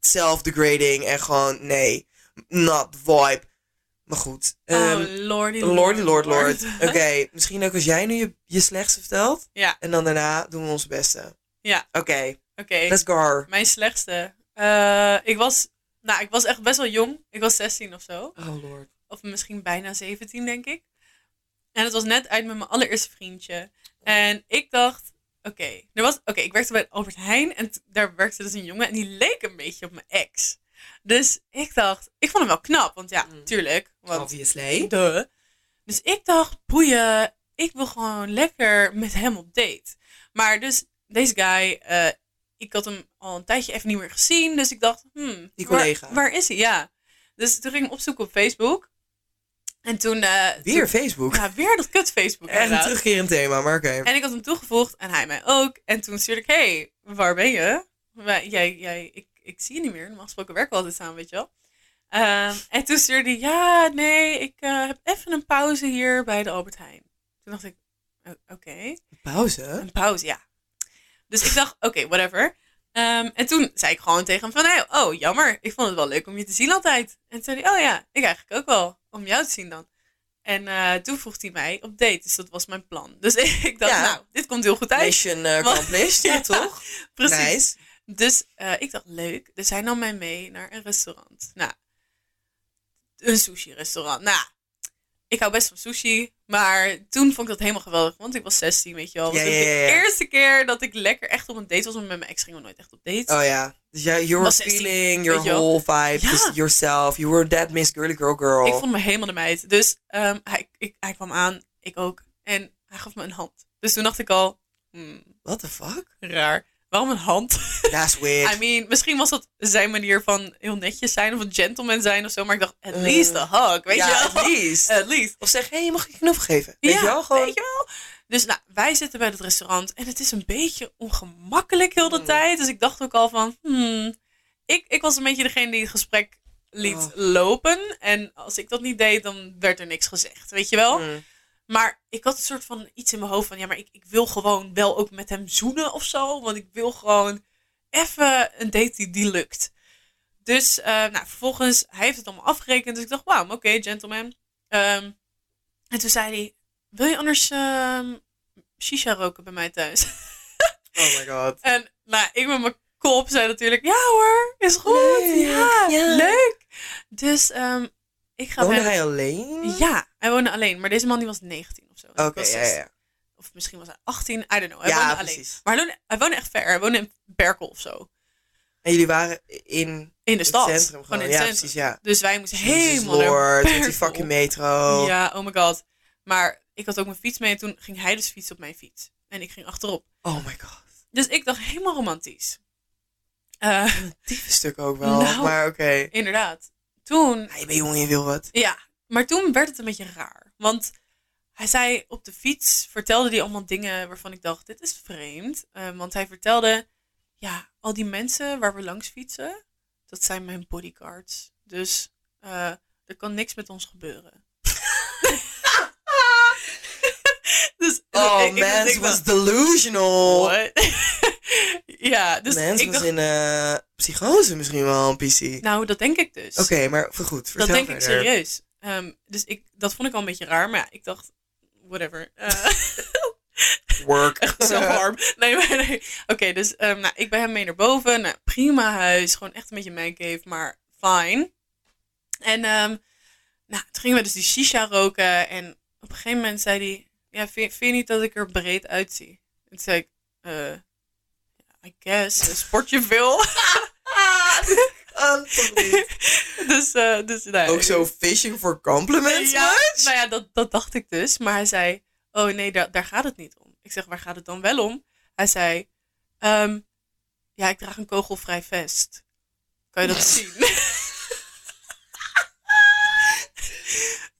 B: self-degrading en gewoon, nee, not vibe. Maar goed. ehm,
A: oh, lordy,
B: Lordy, lord, lord. Oké, misschien ook als jij nu je, je slechtste vertelt.
A: Ja.
B: En dan daarna doen we ons beste.
A: Ja.
B: Oké,
A: Oké.
B: let's go.
A: Mijn slechtste. Eh, ik was, nou, ik was echt best wel jong. Ik was 16 of zo.
B: Oh lord.
A: Of misschien bijna 17, denk ik. En het was net uit met mijn allereerste vriendje. En ik dacht, oké, er was, oké, ik werkte bij Albert Heijn en t- daar werkte dus een jongen en die leek een beetje op mijn ex. Dus ik dacht, ik vond hem wel knap, want ja,
B: Mm.
A: tuurlijk. Want
B: Obviously.
A: Duh. Dus ik dacht, boeien, ik wil gewoon lekker met hem op date. Maar dus, deze guy, eh, ik had hem al een tijdje even niet meer gezien. Dus ik dacht, hmm,
B: Die
A: waar-
B: collega.
A: Waar, is hij? Ja. Dus toen ging ik hem opzoeken op Facebook. En toen... eh,
B: Weer
A: toen-
B: Facebook.
A: ja, weer dat kut Facebook.
B: Echt een
A: inderdaad.
B: terugkerend thema, maar oké.
A: En ik had hem toegevoegd en hij mij ook. En toen stuurde ik, hey, waar ben je? Wij- Jij, jij, ik, ik zie je niet meer. Normaal gesproken werken we altijd samen, weet je wel. Ehm, en toen stuurde hij, ja, nee, ik eh, heb even een pauze hier bij de Albert Heijn. Toen dacht ik, "O- oké,
B: Pauze?
A: een pauze, ja. Dus ik dacht, oké, whatever. Ehm, en toen zei ik gewoon tegen hem van, hey, oh, jammer, ik vond het wel leuk om je te zien altijd. En toen zei hij, oh ja, ik eigenlijk ook wel, om jou te zien dan. En eh, toen vroeg hij mij op date, dus dat was mijn plan. Dus ik dacht,
B: Ja.
A: nou, dit komt heel goed uit.
B: Mission eh,
A: Wat?
B: accomplished, ja,
A: Ja.
B: toch?
A: Precies.
B: Nice.
A: Dus eh, ik dacht, leuk. Dus hij nam mij mee naar een restaurant. Nou, een sushi-restaurant. Nou, ik hou best van sushi. Maar toen vond ik dat helemaal geweldig. Want ik was 16, weet je wel.
B: Ja,
A: Want
B: ja,
A: het was
B: ja, ja.
A: De eerste keer dat ik lekker echt op een date was. Want met mijn ex gingen we nooit echt op date.
B: Oh ja. Dus jij, your
A: Was 16,
B: feeling,
A: weet
B: your
A: je wel.
B: whole vibe,
A: Ja.
B: just yourself. You were that miss girly girl girl.
A: Ik vond me helemaal de meid. Dus ehm, hij, ik, hij kwam aan, ik ook. En hij gaf me een hand. Dus toen dacht ik al, hmm,
B: What the fuck?
A: raar. Waarom een hand?
B: That's weird.
A: I mean, misschien was dat zijn manier van heel netjes zijn of een gentleman zijn of zo. Maar ik dacht, at least a hug, weet
B: Eh, ja,
A: je wel?
B: at least.
A: At least.
B: Of zeg, hé, hey, mag ik je knuffel geven? Weet
A: ja,
B: je wel? Gewoon...
A: weet je wel? Dus nou, wij zitten bij het restaurant en het is een beetje ongemakkelijk heel de
B: Mm.
A: tijd. Dus ik dacht ook al van, hmm, ik, ik was een beetje degene die het gesprek liet
B: Oh.
A: lopen. En als ik dat niet deed, dan werd er niks gezegd, weet je wel?
B: Mm.
A: Maar ik had een soort van iets in mijn hoofd van, ja, maar ik, ik wil gewoon wel ook met hem zoenen of zo. Want ik wil gewoon even een date die, die lukt. Dus eh, nou, vervolgens, hij heeft het allemaal afgerekend. Dus ik dacht, wauw, oké, gentleman. Ehm, en toen zei hij, wil je anders ehm, shisha roken bij mij thuis?
B: Oh my god.
A: en nou, ik met mijn kop zei natuurlijk, ja hoor, is goed.
B: Leuk,
A: ja,
B: ja."
A: leuk. Dus ehm, ik ga
B: Woonde
A: bij
B: hij alleen?
A: Ja, hij woonde alleen. Maar deze man die was 19 of zo. Dus
B: Oké,
A: Ik was
B: ja,
A: 16.
B: ja.
A: Of misschien was hij 18, I don't know. Hij
B: Ja,
A: woonde alleen.
B: precies.
A: Maar hij woonde, hij woonde echt ver. Hij woonde in Berkel of zo.
B: En jullie waren in
A: in de stad.
B: Het centrum gewoon.
A: in
B: ja,
A: het centrum.
B: precies, ja.
A: Dus wij moesten
B: Jezus
A: helemaal naar
B: Lord, met die
A: Berkel.
B: fucking metro.
A: Ja, oh my god. Maar ik had ook mijn fiets mee en toen ging hij dus fietsen op mijn fiets. En ik ging achterop.
B: Oh my god.
A: Dus ik dacht helemaal romantisch. Eh,
B: Diepe stuk ook wel,
A: Nou.
B: maar oké.
A: inderdaad. Toen,
B: Hij ben jong, je wil wat.
A: ja. Maar toen werd het een beetje raar. Want hij zei op de fiets, vertelde hij allemaal dingen waarvan ik dacht, dit is vreemd. Eh, want hij vertelde, ja, al die mensen waar we langs fietsen, dat zijn mijn bodyguards. Dus eh, er kan niks met ons gebeuren. dus,
B: Oh,
A: ik- ik- ik
B: mens
A: dacht,
B: was delusional.
A: What? ja, dus
B: mens
A: ik
B: was
A: dacht,
B: in eh, psychose misschien wel, een PC.
A: nou, dat denk ik dus.
B: Oké, maar voor goed, vertel
A: dat denk ik
B: verder.
A: serieus. Ehm, dus ik, dat vond ik al een beetje raar, maar ja, ik dacht, whatever. Eh,
B: Work.
A: echt zo warm. Nee, maar nee. Oké, dus ehm, nou, ik ben hem mee naar boven. Nou, prima huis, gewoon echt een beetje mijn cave, maar fine. En ehm, nou, toen gingen we dus die shisha roken en op een gegeven moment zei hij, ja, vind, vind je niet dat ik er breed uitzie? En toen zei ik, eh, I guess, sport je veel?
B: Anthony.
A: dus, eh, dus nee.
B: Ook zo fishing for compliments,
A: ja,
B: much?
A: Nou ja, dat, dat dacht ik dus. Maar hij zei, oh nee, daar, daar gaat het niet om. Ik zeg, waar gaat het dan wel om? Hij zei, ehm, ja, ik draag een kogelvrij vest. Kan je dat zien?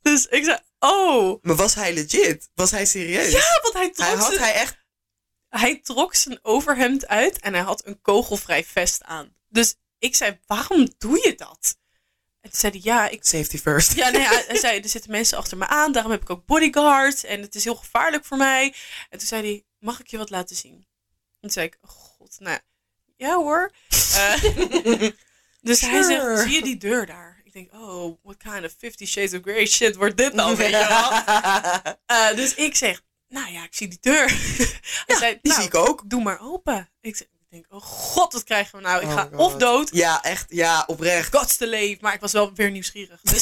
A: dus ik zei, oh.
B: Maar was hij legit? Was hij serieus?
A: Ja, want hij trok,
B: hij had
A: zijn,
B: hij echt...
A: hij trok zijn overhemd uit en hij had een kogelvrij vest aan. Dus ik zei, waarom doe je dat? En toen zei hij, ja, ik
B: Safety first.
A: Ja, nee, hij hij zei, er zitten mensen achter me aan, daarom heb ik ook bodyguards en het is heel gevaarlijk voor mij. En toen zei hij, mag ik je wat laten zien? En toen zei ik, oh god, nou, ja hoor. Eh, dus hij
B: Sure.
A: zegt, zie je die deur daar? Ik denk, oh, what kind of Fifty Shades of Grey shit wordt dit dan, weet je wel? Eh, dus ik zeg, nou ja, ik zie die deur. Hij zei,
B: Die
A: nou,
B: zie ik ook.
A: doe maar open. Ik, zeg- ik denk, oh god, wat krijgen we nou? Ik
B: Oh
A: ga
B: my
A: of
B: God.
A: dood,
B: Ja, echt. Ja, oprecht.
A: gods te leven. Maar ik was wel weer nieuwsgierig.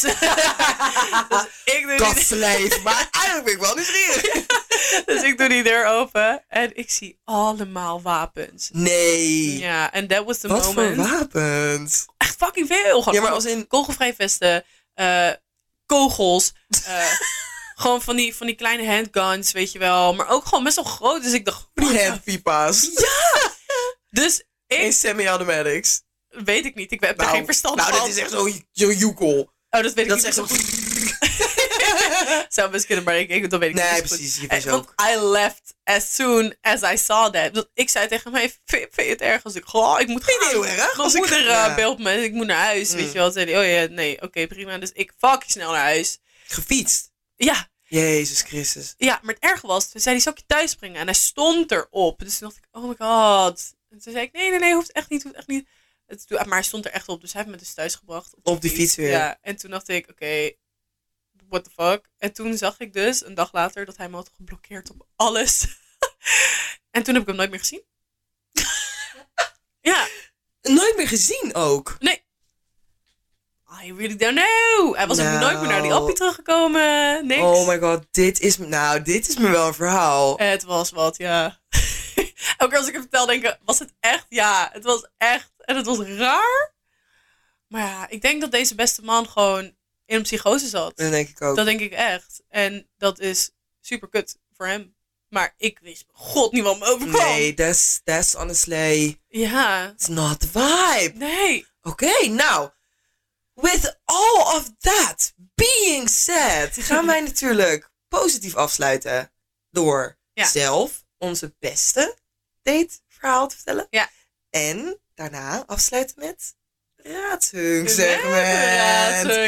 A: Dus, dus ik doe die-
B: Kastleef. Maar eigenlijk ben ik wel nieuwsgierig.
A: Dus ik doe die deur open en ik zie allemaal wapens.
B: Nee.
A: Ja, en dat was the
B: Wat
A: moment.
B: voor wapens?
A: Echt fucking veel. Gewoon
B: Ja, maar als in...
A: kogelvrij vesten, eh, kogels, eh, gewoon van die, van die kleine handguns, weet je wel. Maar ook gewoon best wel groot, dus ik dacht...
B: Die
A: what the-
B: handpipa's.
A: Dus
B: In
A: ik
B: semi-automatics.
A: weet ik niet, ik heb daar geen verstand
B: nou,
A: van.
B: dit is echt zo'n zo joekel.
A: Oh, dat weet ik
B: Dat is
A: niet.
B: echt
A: zo
B: zo'n...
A: goed. Zou best kunnen, maar ik, ik, dat weet ik niet.
B: Nee,
A: zo Eh, goed.
B: precies. Je
A: En,
B: was
A: want
B: ook...
A: I left as soon as I saw that. Want Ik zei tegen mij, vind vind je het erg als ik... Goh, ik moet gaan.
B: Heel erg.
A: Mijn
B: als ik-
A: moeder eh,
B: Ja.
A: belt me, ik moet naar huis,
B: Mm.
A: weet je wel. Zei die, oh ja, nee, oké, prima. Dus ik fucking snel naar huis.
B: Gefietst.
A: Ja,
B: Jezus Christus.
A: ja, maar het erg was, toen zei hij, zal ik je thuis brengen? En hij stond erop. Dus toen dacht ik, oh my god. En toen zei ik, nee, nee, nee, hoeft echt niet, hoeft echt niet. En toen- maar hij stond er echt op, dus hij heeft me dus thuis gebracht.
B: Op die fiets weer.
A: Ja, en toen dacht ik, oké, what the fuck. En toen zag ik dus, een dag later, dat hij me had geblokkeerd op alles. en toen heb ik hem nooit meer gezien. ja, Eh,
B: Nooit meer gezien ook.
A: I really don't know. Hij was ook
B: Nou.
A: nooit meer naar die appie teruggekomen. Niks. Eh,
B: Oh my god, dit is... me- Nou, dit is me wel een verhaal.
A: Het was wat, ja. Elke keer als ik het vertel, denk ik, was het echt? Ja, het was echt. En het was raar. Maar ja, ik denk dat deze beste man gewoon in een psychose zat.
B: Dat denk ik ook.
A: Dat denk ik echt. En dat is super kut voor hem. Maar ik wist bij god niet wat me overkwam.
B: Nee, that's, that's honestly...
A: Ja.
B: It's not the vibe.
A: Nee.
B: Oké, nou. With all of that being said, gaan wij natuurlijk positief afsluiten door
A: Ja.
B: zelf onze beste dateverhaal te vertellen.
A: Ja.
B: En daarna afsluiten met raadshunk,
A: Ja,
B: zeg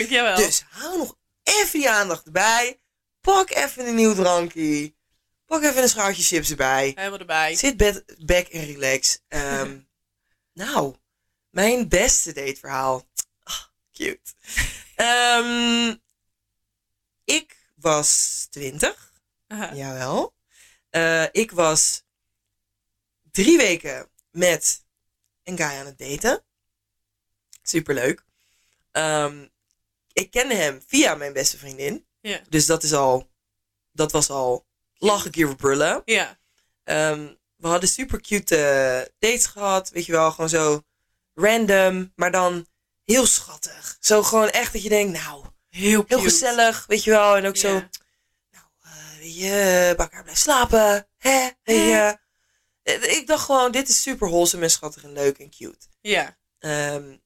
A: suk, jawel.
B: Dus hou nog even die aandacht erbij. Pak even een nieuw drankje. Pak even een schaaltje chips erbij.
A: Helemaal erbij.
B: Zit bed, back en relax. Ehm, nou, mijn beste dateverhaal. Ah, cute. Ehm, ik was 20.
A: Aha.
B: Jawel. Eh, ik was drie weken met een guy aan het daten. Superleuk. Ehm, ik kende hem via mijn beste vriendin.
A: Ja.
B: Dus dat is al. Dat was al. Lach ik hier voor brullen.
A: Ja.
B: Ehm, we hadden super cute eh, dates gehad. Weet je wel, gewoon zo random. Maar dan heel schattig. Zo gewoon echt dat je denkt, nou,
A: Heel,
B: heel
A: cute.
B: gezellig, weet je wel. En ook zo,
A: Ja.
B: eh, weet je, eh, bij elkaar blijven slapen. Hè? Weet je.
A: Ja.
B: Eh, Ik dacht gewoon, dit is super wholesome en schattig en leuk en cute.
A: Ja.
B: Ehm,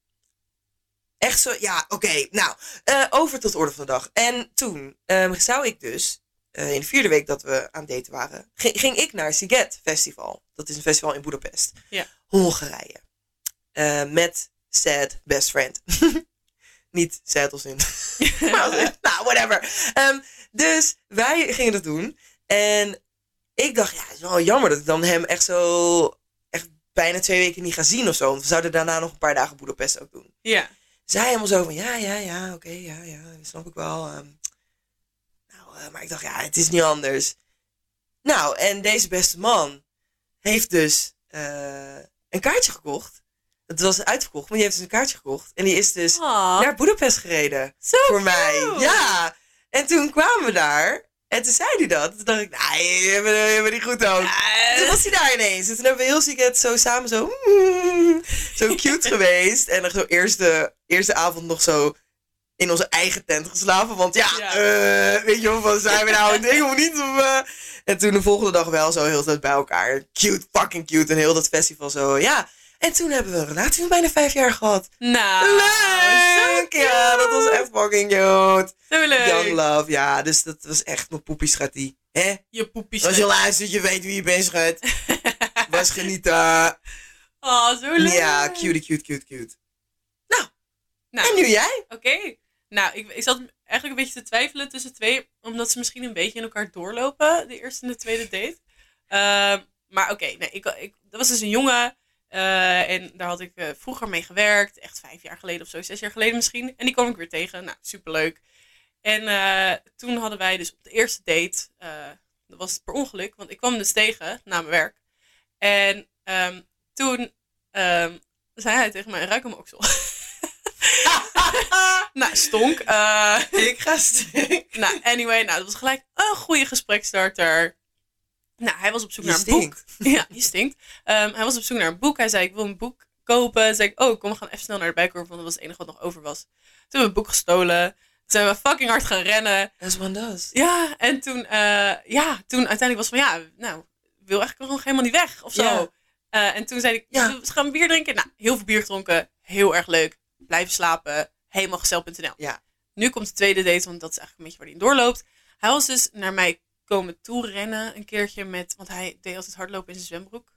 B: echt zo, ja, oké. Nou, eh, over tot de orde van de dag. En toen ehm, zou ik dus, eh, in de vierde week dat we aan het daten waren, ging, ging ik naar Siget Festival. Dat is een festival in Boedapest.
A: Ja.
B: Hongarije. Eh, met Sad Best Friend. Niet sad als in. Maar als in- nou, whatever. Ehm, dus wij gingen dat doen. En ik dacht, ja, het is wel jammer dat ik dan hem echt zo echt bijna twee weken niet ga zien of zo. Want we zouden daarna nog een paar dagen Boedapest ook doen.
A: ja.
B: Zij helemaal zo van, ja, ja, ja, oké, ja, ja, dat snap ik wel. ehm. nou, eh, maar ik dacht, ja, het is niet anders. Nou, en deze beste man heeft dus eh, een kaartje gekocht. Het was uitverkocht, maar die heeft dus een kaartje gekocht. En die is dus
A: Aw,
B: naar Boedapest gereden
A: zo
B: voor
A: cute.
B: mij. Ja. En toen kwamen we daar. En toen zei hij dat. Toen dacht ik, nee, je bent, je bent niet goed ook. En toen was hij daar ineens. En toen hebben we heel ziek het zo samen zo... mm, zo cute geweest. En dan zo eerste, eerste avond nog zo in onze eigen tent geslapen. Want ja,
A: Ja.
B: eh, weet je wel, van zijn we nou een ding of niet? Of, eh? En toen de volgende dag wel zo heel de tijd bij elkaar. Cute, fucking cute. En heel dat festival zo, ja. En toen hebben we een relatie van bijna vijf jaar gehad.
A: Nou, zo
B: Leuk!
A: cute.
B: Ja, dat was echt fucking cute.
A: Zo leuk.
B: Young love, ja. Dus dat was echt mijn poepie schat die. Hè?
A: Je poepjes.
B: Als je luistert, je weet wie je bent, schat. Was genieten.
A: Oh, zo leuk.
B: Ja, cutie, cute, cute, cute.
A: Nou,
B: En nu jij?
A: Oké. Nou, ik, ik zat eigenlijk een beetje te twijfelen tussen twee, omdat ze misschien een beetje in elkaar doorlopen, de eerste en de tweede date. Ehm, maar oké, nee, ik, ik, dat was dus een jongen eh, en daar had ik eh, vroeger mee gewerkt, echt vijf jaar geleden of zo, zes jaar geleden misschien. En die kwam ik weer tegen, nou, superleuk. En eh, toen hadden wij dus op de eerste date, eh, dat was per ongeluk, want ik kwam hem dus tegen na mijn werk. En ehm, toen ehm, zei hij tegen mij, ruik hem oksel. nou, stonk. Eh,
B: ik ga stink.
A: nou, anyway, nou, dat was gelijk een goede gesprekstarter. Nou, hij was op zoek
B: Je
A: naar een
B: stinkt.
A: boek. Ja, die stinkt. Ehm, hij was op zoek naar een boek. Hij zei, ik wil een boek kopen. Toen zei ik, oh, kom, we gaan even snel naar de bijkorf, want dat was het enige wat nog over was. Toen hebben we het boek gestolen. Toen zijn we fucking hard gaan rennen.
B: As one does.
A: Ja, en toen, eh, ja, toen uiteindelijk was van, ja, nou, ik wil eigenlijk gewoon helemaal niet weg, of zo.
B: Ja.
A: Eh, en toen zei ik,
B: Ja.
A: "Zullen we gaan bier drinken? Nou, heel veel bier gedronken. Heel erg leuk. Blijven slapen. Helemaal gezellig.nl.
B: Ja.
A: Nu komt de tweede date, want dat is eigenlijk een beetje waar hij in doorloopt. Hij was dus naar mij komen toe rennen een keertje met... Want hij deed altijd hardlopen in zijn zwembroek.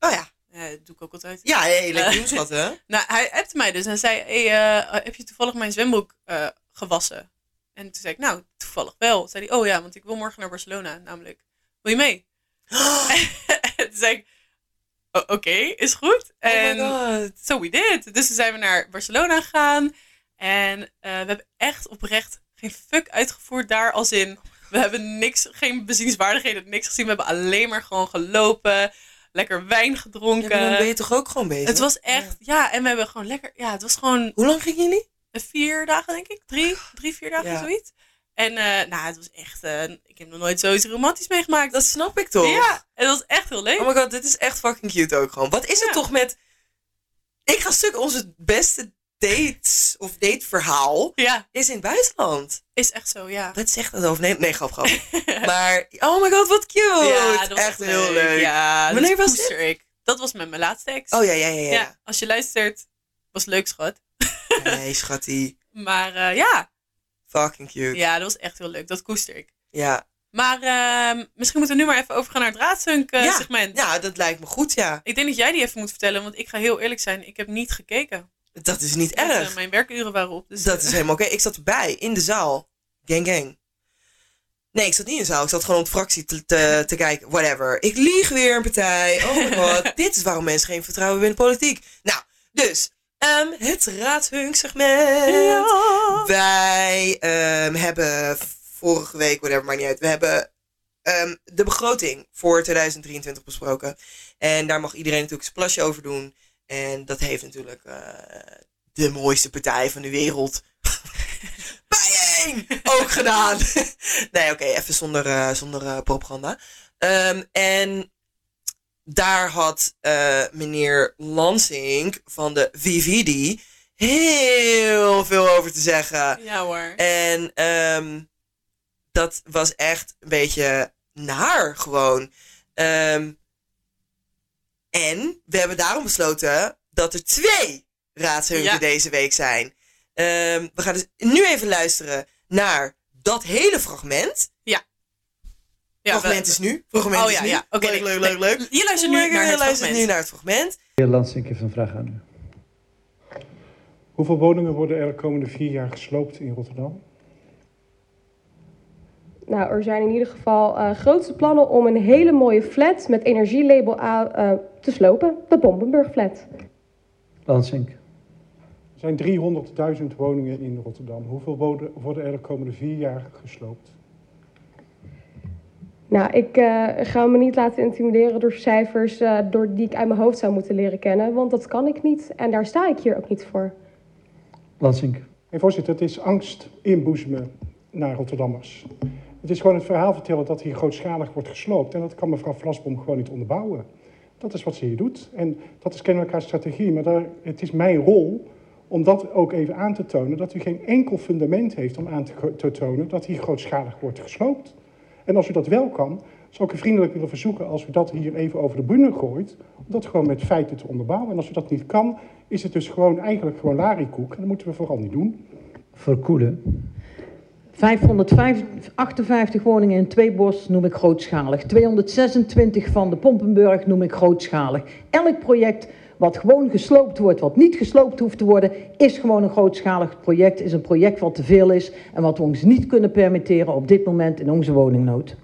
B: Oh ja.
A: Eh, dat doe ik ook altijd.
B: Ja, hé, hey, lekker
A: Eh.
B: doen, schat, hè?
A: Nou, hij appte mij dus en zei: hey, eh, Heb je toevallig mijn zwembroek eh, gewassen? En toen zei ik: Nou, toevallig wel. Toen zei hij: Oh ja, want ik wil morgen naar Barcelona, namelijk. Wil je mee?
B: Oh
A: En toen zei ik: "O- Oké, is goed. En
B: Oh my god.
A: so we did. Dus toen zijn we naar Barcelona gegaan. En eh, we hebben echt oprecht geen fuck uitgevoerd daar. Als in, we hebben niks, geen bezienswaardigheden, niks gezien. We hebben alleen maar gewoon gelopen, lekker wijn
B: Ja, maar dan
A: gedronken.
B: ben je toch ook gewoon bezig?
A: Het was echt, ja, en we hebben gewoon lekker, ja, het was gewoon
B: Hoe lang gingen jullie?
A: vier dagen, denk ik. Drie, drie vier dagen,
B: Ah, Ja.
A: zoiets. En eh, nou, het was echt, eh, ik heb nog nooit zoiets romantisch meegemaakt.
B: Dat snap ik toch?
A: Ja, en dat was echt heel leuk.
B: Oh my god, dit is echt fucking cute ook gewoon. Wat is het
A: Ja.
B: toch met... Ik ga stuk onze beste dates of dateverhaal
A: Ja,
B: is in het buitenland.
A: is echt zo, ja.
B: Wat zegt dat over? Nee, nee grap, grap. maar, oh my god, wat cute.
A: ja,
B: echt, heel leuk.
A: Ja, dat
B: Wanneer was
A: koester ik. Dat was met mijn laatste ex.
B: Oh ja, ja, ja.
A: ja.
B: ja.
A: als je luistert, was leuk, schat.
B: Nee, schattie.
A: Maar eh, ja.
B: Fucking cute.
A: ja,
B: Ja.
A: dat was echt heel leuk. Dat koester ik. Maar ehm, misschien moeten we nu maar even overgaan naar het raadzunk eh,
B: Ja.
A: segment.
B: Ja, Nou, dat lijkt me goed, ja.
A: Ik denk dat jij die even moet vertellen, want ik ga heel eerlijk zijn. Ik heb niet gekeken.
B: Dat is niet
A: Want,
B: erg.
A: eh, mijn werkuren waren op. Dus
B: Dat is helemaal oké. Ik zat erbij, in de zaal. Gang, gang. Nee, ik zat niet in de zaal. Ik zat gewoon op de fractie te, te, te kijken. Whatever. Ik lieg weer een partij. Oh my god. Dit is waarom mensen geen vertrouwen hebben in de politiek. Nou, dus. ehm, het raadhunksegment.
A: Ja.
B: Wij ehm, hebben vorige week, whatever, maakt niet uit. We hebben ehm, de begroting voor 2023 besproken. En daar mag iedereen natuurlijk zijn plasje over doen. En dat heeft natuurlijk eh, de mooiste partij van de wereld. Bijeen! Ook gedaan. nee, oké, even zonder, eh, zonder eh, propaganda. Ehm, en daar had eh, meneer Lansing van de VVD heel veel over te zeggen.
A: Ja hoor.
B: En ehm, dat was echt een beetje naar gewoon. Ehm, en we hebben daarom besloten dat er twee raadshunken
A: Ja.
B: deze week zijn. Ehm, we gaan dus nu even luisteren naar dat hele fragment.
A: Ja, we-
B: fragment is nu. Fragment
A: Oh
B: is
A: ja,
B: nu.
A: ja, oké,
B: leuk,
A: nee,
B: leuk,
A: nee.
B: leuk, leuk. Oh
A: Je luistert nu
B: Lekker,
A: naar
B: je
A: het
B: luistert
A: fragment.
B: nu naar het fragment.
C: Heer Lansink heeft een vraag aan u. Hoeveel woningen worden er de komende vier jaar gesloopt in Rotterdam?
D: Nou, er zijn in ieder geval eh grootste plannen om een hele mooie flat met energielabel A eh, te slopen. De Bombenburg flat.
E: Lansink.
C: Er zijn 300.000 woningen in Rotterdam. Hoeveel wonen- worden er de komende vier jaar gesloopt?
D: Nou, ik eh, ga me niet laten intimideren door cijfers eh, door die ik uit mijn hoofd zou moeten leren kennen. Want dat kan ik niet en daar sta ik hier ook niet voor.
E: Lansink.
C: En voorzitter, het is angst inboezemen naar Rotterdammers. Het is gewoon het verhaal vertellen dat hier grootschalig wordt gesloopt. En dat kan mevrouw Vlasbom gewoon niet onderbouwen. Dat is wat ze hier doet. En dat is kennelijk haar strategie. Maar daar, het is mijn rol om dat ook even aan te tonen. Dat u geen enkel fundament heeft om aan te, ko- te tonen dat hier grootschalig wordt gesloopt. En als u dat wel kan, zou ik u vriendelijk willen verzoeken als u dat hier even over de bühne gooit. Om dat gewoon met feiten te onderbouwen. En als u dat niet kan, is het dus gewoon eigenlijk gewoon larikoek. En dat moeten we vooral niet doen.
E: Verkoelen.
F: 558 woningen in Tweebos noem ik grootschalig. 226 van de Pompenburg noem ik grootschalig. Elk project wat gewoon gesloopt wordt, wat niet gesloopt hoeft te worden, is gewoon een grootschalig project. Is een project wat te veel is en wat we ons niet kunnen permitteren op dit moment in onze woningnood.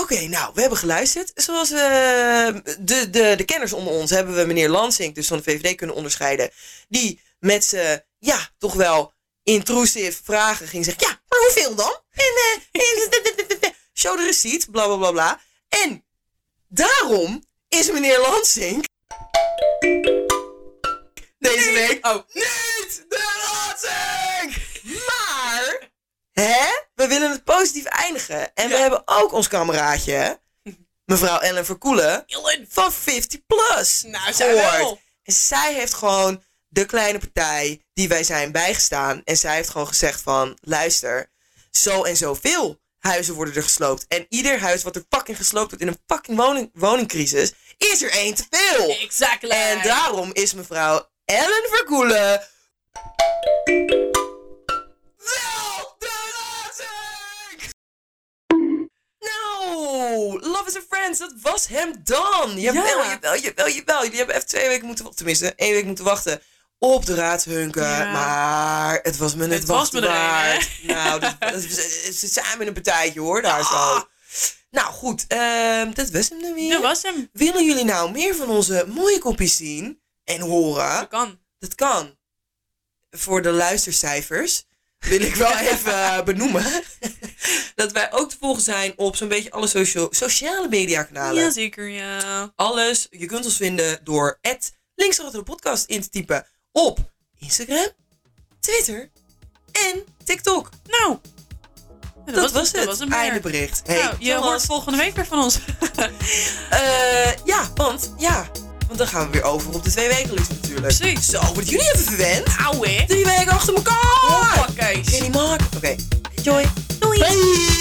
B: Oké, nou, we hebben geluisterd. Zoals we, de, de, de kenners onder ons hebben we meneer Lansink, dus van de VVD, kunnen onderscheiden. Die met zijn, ja, toch wel intrusive vragen ging zeggen. Ja, maar hoeveel dan? En, eh, en show the receipt, bla bla bla bla. En daarom is meneer Lansink deze week oh. niet de Lansink! Maar, hè, we willen het positief eindigen. En we
A: Ja.
B: hebben ook ons kameraadje, mevrouw Ellen Verkoelen,
A: Ellen.
B: van 50 Plus
A: Nou, zij wel.
B: En zij heeft gewoon de kleine partij die wij zijn bijgestaan. En zij heeft gewoon gezegd van, luister, zo en zoveel huizen worden er gesloopt. En ieder huis wat er fucking gesloopt wordt in een fucking woning, woningcrisis, is er één te veel.
A: Exactly.
B: En daarom is mevrouw Ellen Verkoelen... wel de razing! Nou, Love is a Friends, dat was hem dan. Jawel,
A: Ja.
B: jawel, jawel, jawel. Jullie hebben even twee weken moeten wachten. Tenminste, één week moeten wachten op de raadshunken.
A: Ja.
B: Maar het was me net
A: Het was me
B: wachten
A: er een, hè?
B: waard. Nou, dat, dat, ze- ze samen een partijtje hoor, daar zo. Nou goed, ehm, dat was hem dan weer.
A: Dat was hem.
B: Willen jullie nou meer van onze mooie kopjes zien en horen?
A: Dat kan.
B: Dat kan. Voor de luistercijfers wil ik wel even eh, benoemen dat wij ook te volgen zijn op zo'n beetje alle socia- sociale media kanalen.
A: Jazeker, ja.
B: Alles, je kunt ons vinden door het linksachter de podcast in te typen op Instagram, Twitter en TikTok.
A: Nou.
B: Dat, was het.
A: Dat was hem
B: Einde
A: weer.
B: bericht.
A: Nou, je
B: Thomas.
A: hoort volgende week weer van ons.
B: Eh, ja, want ja, want dan gaan we weer over op de twee wekelijks natuurlijk.
A: Precies.
B: Zo, worden jullie even verwend?
A: Auwe.
B: Drie weken achter elkaar!
A: Pakkees.
B: Kun je niet maken? Oké. Enjoy. Doei. Bye.